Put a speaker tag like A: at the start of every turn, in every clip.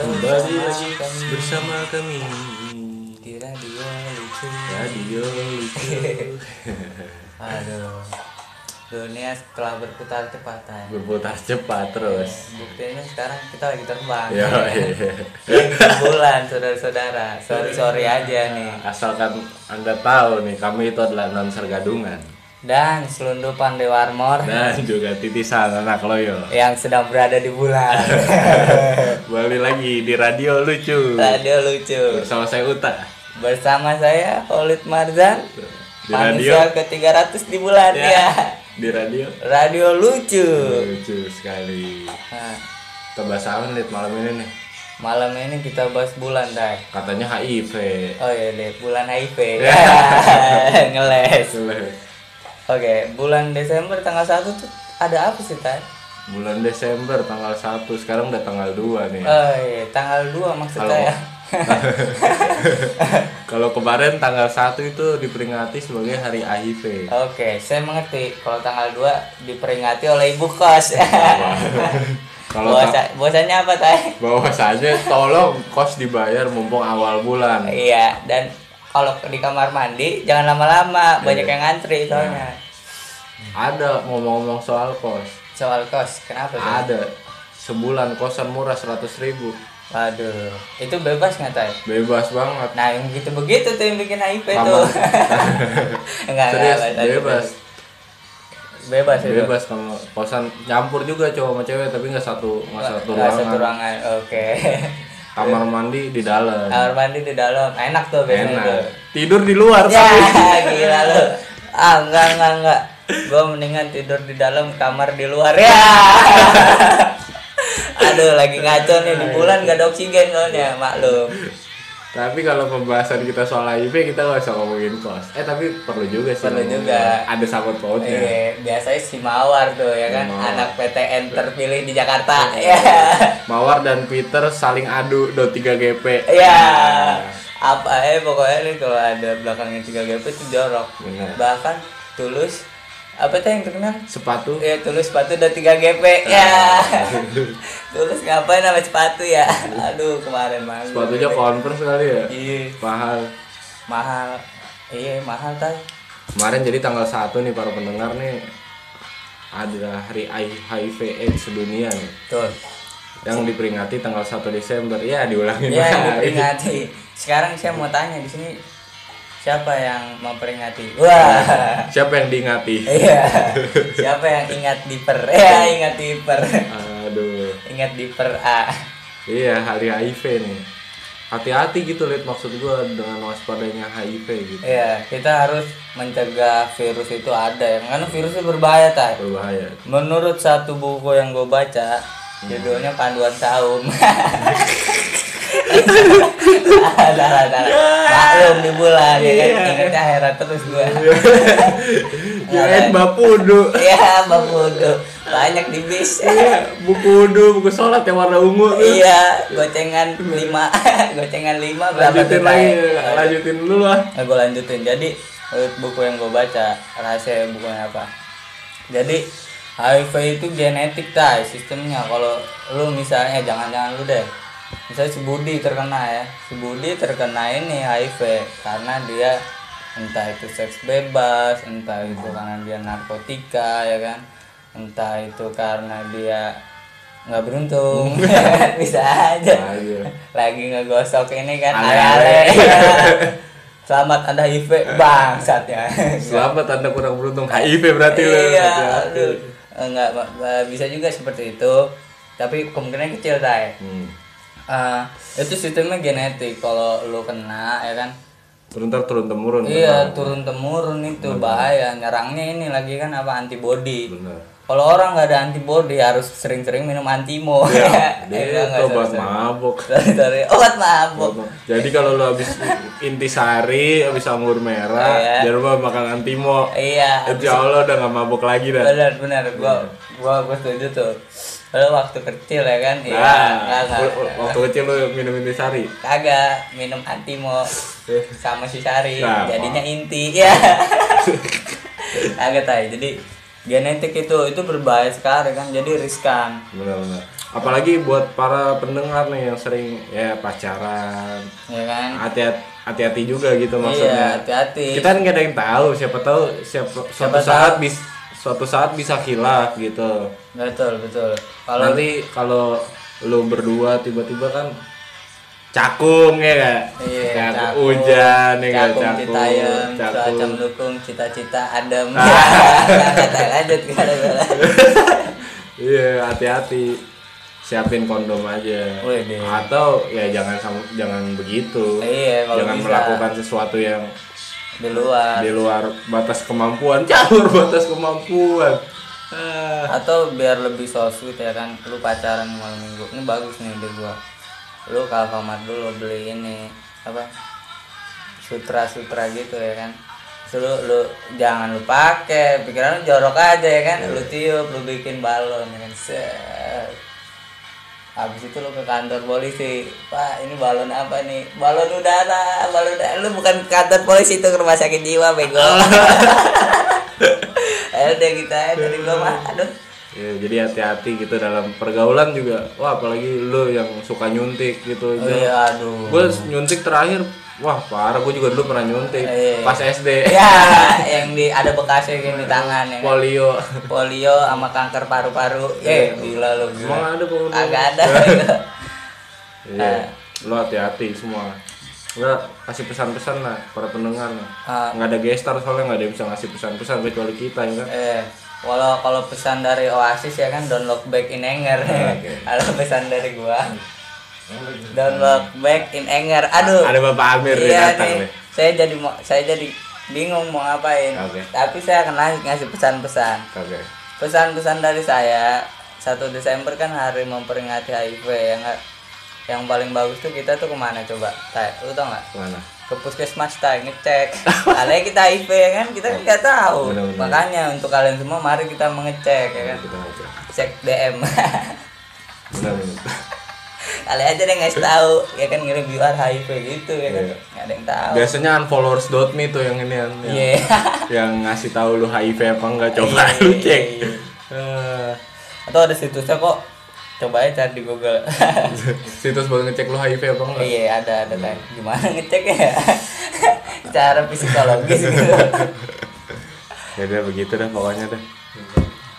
A: Kembali lagi bersama kami
B: di radio lucu
A: Radio Lucu
B: aduh dunia setelah berputar cepatan
A: Berputar cepat terus
B: buktinya sekarang kita lagi terbang
A: Yo, iya.
B: Di bulan saudara-saudara sorry sorry aja nih
A: Asalkan Anda tahu nih, kami itu adalah non sergadungan
B: dan selundupan Dewa Armor
A: Dan juga titisan anak loyo
B: yang sedang berada di bulan
A: Kembali lagi di Radio Lucu
B: radio lucu
A: Bersama saya Uta
B: bersama saya Khalid Marzan
A: Di radio
B: manusia ke 300 di bulan ya,
A: Di radio
B: radio lucu
A: Lucu sekali
B: Nah,
A: Kita bahas apa nih malam ini nih
B: malam ini kita bahas bulan Tay.
A: Katanya HIV
B: Oh iya deh, bulan HIV.
A: Ya.
B: Ngeles. Oke, bulan Desember tanggal 1 tuh ada apa sih, Tan?
A: Bulan Desember tanggal 1 Sekarang udah tanggal 2 nih
B: Oh iya, tanggal 2 maksud
A: Halo.
B: saya.
A: Kalau kemarin tanggal 1 itu diperingati sebagai hari HIV
B: Oke, saya mengerti kalau tanggal 2 diperingati oleh ibu kos.
A: Iya, Kalau tak-
B: Bosa, bosannya apa, Tay?
A: bahwasannya tolong kos dibayar mumpung awal bulan
B: Iya, dan kalau di kamar mandi jangan
A: Iya.
B: lama-lama, banyak yang ngantri soalnya.
A: Ada ngomong-ngomong soal kos
B: Soal kos, kenapa tuh?
A: Ada Sebulan kosan murah 100 ribu
B: Waduh, itu bebas nggak, Tay?
A: Bebas banget
B: Nah, yang begitu-begitu tuh yang bikin HIV tuh.
A: Aman. Ya,
B: enggak, enggak,
A: Serius
B: enggak,
A: bebas
B: Bebas, itu.
A: Bebas kalau kosan Nyampur juga cowok sama cewek Tapi nggak satu nggak satu
B: Enggak satu
A: ruangan
B: ruangan. Oke.
A: Kamar mandi di dalam
B: Kamar mandi di dalam. Enak tuh biasanya tuh.
A: Enak Tidur di luar
B: Ya,
A: tapi.
B: gila lu. Ah, enggak, enggak, enggak. Gua mendingan tidur di dalam kamar di luar ya. Aduh, lagi ngaco nih di bulan gak ada oksigen soalnya,
A: Iya.
B: maklum.
A: Tapi kalau pembahasan kita soal HIV kita nggak usah ngomongin kos. Eh tapi perlu juga sih.
B: Perlu
A: ngomongin.
B: juga.
A: Ada sangkut pautnya.
B: Iya, biasanya si Mawar tuh ya kan,
A: Mawar. Iya.
B: anak PTN terpilih di Jakarta. Ya.
A: Mawar dan Peter saling adu do 3 GP.
B: Iya. Apa eh pokoknya nih kalau ada belakangnya 3 GP itu jorok.
A: Benar.
B: Bahkan tulus apa tuh yang terkenal?
A: Sepatu.
B: Ya tulus sepatu udah 3 GP. Ya. tulus ngapain sama sepatu ya? Aduh, kemarin mahal.
A: Sepatunya Converse kali ya.
B: Iya,
A: Mahal.
B: mahal. Iya, mahal kan.
A: Kemarin jadi tanggal 1 nih para pendengar nih ada hari HIV AIDS sedunia nih
B: Tuh.
A: yang diperingati tanggal 1 Desember. Ya diulangin
B: Ya,
A: lagi.
B: diperingati. Sekarang saya mau tanya di sini siapa yang memperingati? Wah.
A: Siapa yang diingati?
B: Iya. Siapa yang ingat diper? Ya, ingat diper.
A: Aduh.
B: Ingat di per A.
A: Iya, hari HIV nih. Hati-hati gitu lihat maksud gua dengan waspadanya HIV gitu.
B: Iya, kita harus mencegah virus itu ada ya. Karena virus itu berbahaya, Tay.
A: Berbahaya.
B: Menurut satu buku yang gue baca,
A: Hmm.
B: judulnya Panduan Saum. Salah, salah, salah. Maklum di bulan ya kan.
A: Iya.
B: Ingatnya akhirat terus gue.
A: Kirain bapu udu.
B: Iya, Bang Bodo. Banyak di bis.
A: Iya. Buku udu, buku sholat yang warna ungu tuh.
B: Iya, gocengan 5. Gocengan 5 berapa tuh,
A: Lanjutin
B: Tay?
A: lagi, lanjutin dulu lah.
B: Nah, gue lanjutin. Jadi menurut buku yang gue baca rahasia bukunya apa? Jadi HIV itu genetik tay sistemnya. Kalau lu misalnya jangan-jangan lu deh, misalnya si Budi terkena ya, si Budi terkena ini HIV karena dia entah itu seks bebas, entah itu karena dia narkotika ya kan, entah itu karena dia nggak beruntung bisa aja
A: Ayo.
B: lagi ngegosok ini kan
A: Ale-ale.
B: ale-ale selamat anda IV bangsat ya
A: Selamat Anda kurang beruntung HIV berarti lu.
B: iya
A: Hati-hati.
B: aduh enggak ma- ma- bisa juga seperti itu tapi kemungkinan kecil tay
A: Hmm.
B: Eh, itu sistemnya genetik kalau lu kena ya kan
A: Turun ntar turun temurun.
B: iya turun temurun itu bahaya nyerangnya ini lagi kan apa antibody
A: Bener.
B: kalau orang nggak ada antibody harus sering-sering minum antimo Eh,
A: Iya, dia
B: nggak,
A: itu obat
B: sorry,
A: mabuk.
B: sorry. Sorry, obat mabuk
A: Jadi kalau lu habis intisari, habis anggur merah,
B: Iya.
A: jangan lupa makan antimo.
B: iya
A: Insya Allah udah gak mabuk lagi dah.
B: benar benar gua
A: Iya.
B: gua gua setuju tuh kalau waktu kecil ya kan iya
A: Nah,
B: nggak nggak
A: w- waktu kecil lu minum intisari.
B: kagak minum antimo sama si sari
A: Nah,
B: jadinya inti ya kagak tay jadi genetik itu itu berbahaya sekali kan jadi riskan
A: Benar-benar. apalagi buat para pendengar nih yang sering ya pacaran
B: ya kan
A: hati-hati hati-hati juga
B: iya
A: gitu Ah, maksudnya
B: hati-hati
A: kita kan nggak ada yang tahu siapa tahu siapa
B: Siapa
A: suatu saat bis- suatu saat bisa hilaf gitu
B: betul betul kalau
A: nanti kalau lu berdua tiba-tiba kan cakung ya gak?
B: Iya,
A: Cakung
B: cakung.
A: hujan ya gak?
B: cakung citayam
A: cakung. Ah.
B: cuaca mendukung cita-cita adem kata lanjut gara-gara
A: Iya, hati-hati. Siapin kondom aja.
B: Wede.
A: Atau ya jangan sam- jangan begitu.
B: Iya, kalau bisa.
A: jangan
B: Ah.
A: melakukan sesuatu yang
B: di luar
A: di luar batas kemampuan, jalur batas kemampuan. Ah.
B: atau biar lebih so sweet ya kan lu pacaran malam minggu ini bagus nih ide gua lu ke Alfamart dulu beli ini apa sutra sutra gitu ya kan Terus lu, lu jangan lu pakai pikiran lu jorok aja ya kan lu tiup lu bikin balon ya kan Set. Habis itu lu ke kantor polisi. Pak, ini balon apa nih? Balon udara, balon udara. Lu bukan ke kantor polisi itu ke rumah sakit jiwa, bego. Ayo deh kita ayo dari gua mah. Aduh.
A: Ya, jadi hati-hati gitu dalam pergaulan juga. Wah, apalagi lu yang suka nyuntik gitu.
B: Oh iya, aduh.
A: Gue nyuntik terakhir, wah parah. Gue juga dulu pernah nyuntik
B: Iya.
A: pas SD.
B: Ya, yang di ada bekasnya gini di tangan ya. kan?
A: Polio.
B: Polio sama kanker paru-paru. Eh,
A: Iya.
B: gila lu.
A: Emang
B: Gila.
A: ada polio?
B: Agak ada. bego. Eh.
A: Iya. Lo hati-hati semua. Gue kasih pesan-pesan lah para pendengar nih.
B: Ah.
A: Nggak ada gestar soalnya nggak ada yang bisa ngasih pesan-pesan kecuali kita ya kan.
B: Eh, kalau kalau pesan dari Oasis ya kan don't look back in anger.
A: Ah, Oke. Hmm.
B: Kalau pesan dari gua don't look back in anger. Aduh.
A: Ada Bapak Amir
B: Eh.
A: nih
B: iya
A: datang
B: nih.
A: nih.
B: Saya jadi mau saya jadi bingung mau ngapain.
A: Oke.
B: Tapi saya akan ngasih- ngasih pesan-pesan.
A: Oke.
B: Pesan-pesan dari saya 1 Desember kan hari memperingati HIV yang ya yang paling bagus tuh kita tuh kemana coba? Tai, lu tau nggak?
A: Mana?
B: ke puskesmas tay ngecek karena kita HIV ya kan kita kan nggak tahu
A: Benar-benar.
B: makanya untuk kalian semua mari kita mengecek ya kan
A: Kita aja.
B: cek DM
A: Benar benar.
B: kali aja deh nggak tahu ya kan nge-reviewer HIV gitu ya kan
A: Iya.
B: nggak ada yang tahu
A: Biasanya unfollowers.me tuh yang ini yang, yang-
B: iya
A: yang ngasih tahu lu HIV apa enggak coba
B: Iya,
A: lu
B: iya,
A: cek.
B: iya.
A: Eh,
B: atau ada situsnya kok coba aja cari di Google
A: situs buat ngecek lu HIV apa enggak.
B: iya ada ada Tay. gimana ngecek ya cara psikologis gitu
A: Ya udah begitu dah pokoknya dah.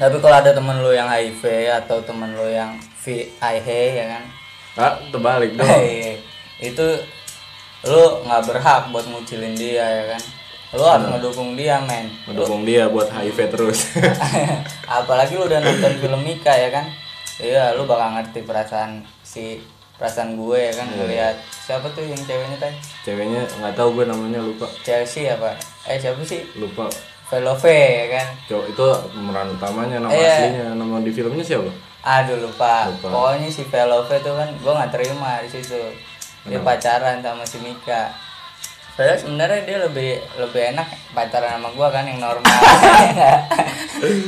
B: tapi kalau ada temen lu yang HIV atau temen lu yang VIH ya kan
A: Ah, terbalik dong.
B: Hei, itu lu nggak berhak buat ngucilin dia ya kan lu harus ngedukung dia men
A: Mendukung dia buat HIV terus.
B: apalagi lu udah nonton film Mika ya kan iya lu bakal ngerti perasaan si perasaan gue ya kan ngelihat siapa tuh yang ceweknya tadi
A: Ceweknya nggak tahu gue namanya lupa.
B: Chelsea apa eh siapa sih
A: Lupa.
B: Velove ya kan
A: Cowok itu pemeran utamanya nama
B: Iya.
A: aslinya, nama di filmnya siapa?
B: aduh lupa,
A: Lupa.
B: pokoknya si Velove tuh kan gue nggak terima di situ dia pacaran sama si Mika padahal sebenarnya dia lebih lebih enak pacaran sama gue kan yang normal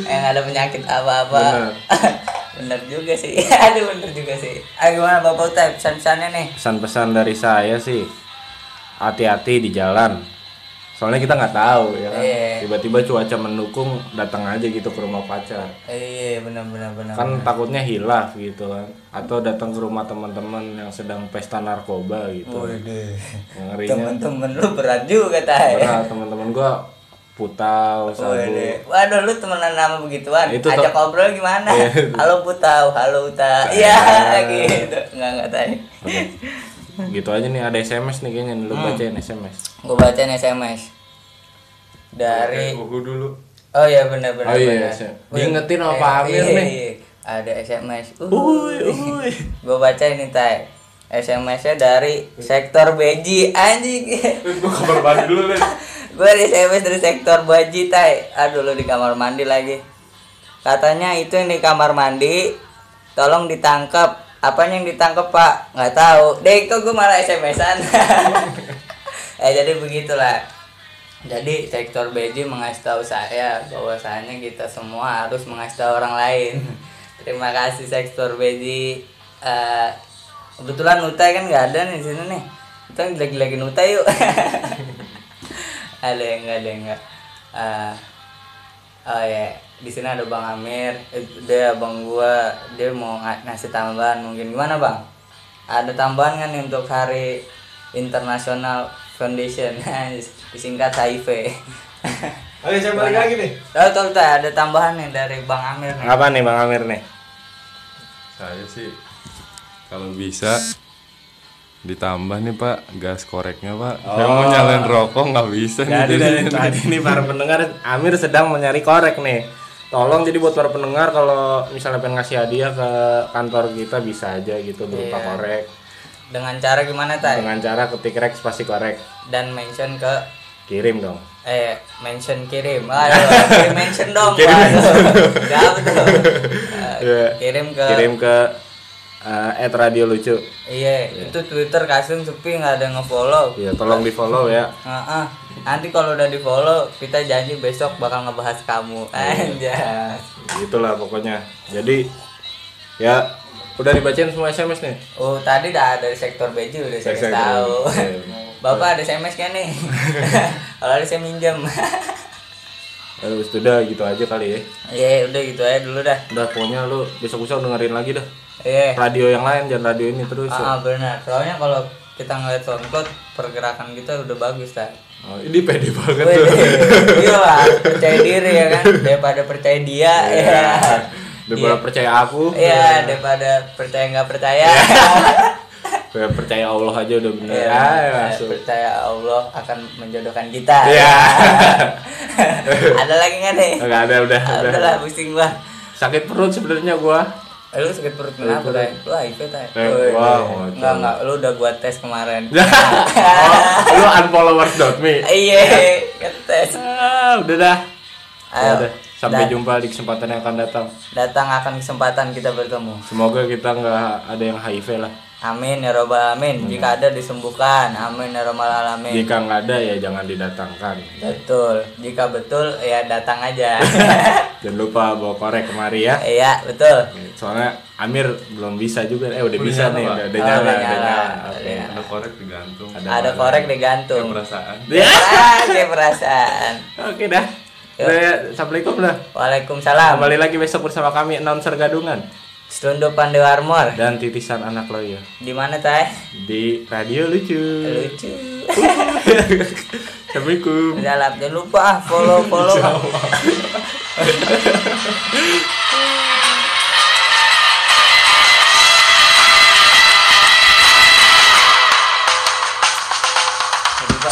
B: yang nggak ada penyakit apa-apa
A: Benar.
B: bener juga sih aduh bener juga sih ah gimana bapak Utep pesan-pesannya nih
A: Pesan-pesan dari saya sih hati-hati di jalan. Soalnya kita nggak tahu ya kan.
B: Iya.
A: Tiba-tiba cuaca mendukung datang aja gitu ke rumah pacar.
B: iya bener bener bener
A: Kan takutnya hilaf gitu kan. Atau datang ke rumah teman-teman yang sedang pesta narkoba gitu.
B: Waduh.
A: Ngerinya
B: temen-temen lu berat juga tay
A: pernah teman-teman gua putau, sabu,
B: Waduh, waduh lu temenan nama begituan.
A: Itu
B: Ajak
A: tau-
B: ngobrol gimana?
A: Iya.
B: halo Putau, halo Uta. Iya, gitu. Enggak enggak tanya.
A: gitu aja nih ada SMS nih kayaknya nih, lu bacain SMS
B: Gua bacain SMS dari
A: buku dulu
B: Oh iya benar benar.
A: Oh iya,
B: benar.
A: iya.
B: Wih,
A: Diingetin sama Pak Amir
B: iya,
A: nih.
B: iya. Ada SMS.
A: Uhuy, uhuy.
B: Gua baca ini tay. SMS-nya dari sektor beji anjing.
A: gue kabar mandi dulu nih
B: Gua di SMS dari sektor beji tay. Aduh lu di kamar mandi lagi. Katanya itu yang di kamar mandi. Tolong ditangkap. Apanya yang ditangkap Pak? Nggak tahu. Deh kok gue malah SMS-an. eh jadi begitulah. Jadi sektor BJ mengasih tahu saya bahwasanya kita semua harus mengasih tahu orang lain. Terima kasih sektor BJ. Eh, kebetulan Utai kan nggak ada nih di sini nih. Kita jelek-jelekin Utai yuk. ada yang nggak ada yang nggak. Eh, Ah, oh ya di sini ada bang Amir eh, dia bang gua dia mau nga- ngasih tambahan mungkin gimana bang ada tambahan kan untuk hari internasional foundation disingkat HIV
C: Oke, saya balik lagi nih.
B: Tahu tahu tahu, ada tambahan nih dari bang Amir nih
A: Apa nih Bang Amir nih?
D: Saya sih kalau bisa ditambah nih Pak gas koreknya Pak. Saya mau nyalain rokok nggak bisa nih.
A: Jadi dari tadi nih para pendengar Amir sedang mencari korek nih. Tolong jadi buat para pendengar kalau misalnya pengen ngasih hadiah ke kantor kita bisa aja gitu berupa korek
B: dengan cara gimana Iya. tay
A: dengan cara ketik rek pasti korek
B: dan mention ke
A: kirim dong.
B: eh mention kirim ayo kirim mention dong
A: Kirim
B: Pak. Jawab tuh. Eh,
A: Iya.
B: kirim ke
A: Kirim ke eh, at radio lucu.
B: iya itu twitter kasih sepi nggak ada yang ngefollow
A: Ya tolong di follow ya.
B: Heeh. nanti kalau udah di follow kita janji besok bakal ngebahas kamu aja
A: Itulah pokoknya. Jadi ya udah dibacain semua SMS nih.
B: oh tadi dah dari sektor beju udah saya kasih
A: Sektor
B: tahu
A: beju.
B: bapak ada sms kan nih kalau ada saya minjem
A: Lalu sudah gitu aja kali ya.
B: Iya, udah gitu aja dulu dah.
A: Udah pokoknya lu besok-besok dengerin lagi dah.
B: Iya.
A: Radio yang lain jangan radio ini terus. ya.
B: Ah, ah, benar. Soalnya kalau kita ngeliat SoundCloud pergerakan kita udah bagus lah.
A: Oh, ini pede banget
B: Wih,
A: tuh.
B: Iya lah, percaya diri ya kan daripada percaya dia ya.
A: Daripada percaya aku,
B: Iya, daripada percaya nggak percaya.
A: daripada percaya Allah aja udah bener.
B: Iya,
A: Ya, langsung.
B: percaya Allah akan menjodohkan kita.
A: Iya.
B: Ada lagi nggak nih?
A: Enggak ada udah,
B: Ah,
A: udah.
B: Udah lah, pusing gua.
A: Sakit perut sebenarnya gua.
B: Eh, lu sakit perut kenapa, Tay? Lu HIV, Tay?
A: Eh,
B: Wih,
A: wah,
B: wih.
A: wajah.
B: Enggak, enggak. Lu udah gua tes kemarin.
A: oh, lu unfollowers.me.
B: Iya, ngetes.
A: Ah, udah dah. Ya
B: Ayo,
A: udah.
B: dah.
A: Sampai jumpa di kesempatan yang akan datang.
B: datang akan kesempatan kita bertemu.
A: Semoga kita nggak ada yang HIV lah.
B: Amin ya robbal alamin. Jika ada disembuhkan. Amin ya robbal alamin.
A: Jika nggak ada ya jangan didatangkan.
B: Ya. Betul. Jika betul ya datang aja.
A: Jangan lupa bawa korek kemari ya.
B: Iya, betul.
A: Soalnya Amir belum bisa juga. Eh udah bisa nih, udah, udah
B: udah
A: nyala, udah
B: nyala.
A: nyala. Oke.
D: Ada korek digantung.
B: Ada korek digantung.
D: perasaan.
B: Ah, kayak perasaan.
A: Ya. Oke dah. Udah, ya. Assalamualaikum dah.
B: Waalaikumsalam.
A: Kembali lagi besok bersama kami announcer gadungan
B: Selundup Pandewa Armor.
A: dan titisan anak loyo
B: Di mana, Tay?
A: di radio lucu.
B: Lucu.
A: Assalamualaikum.
B: Udah lah, jangan lupa ah, follow follow.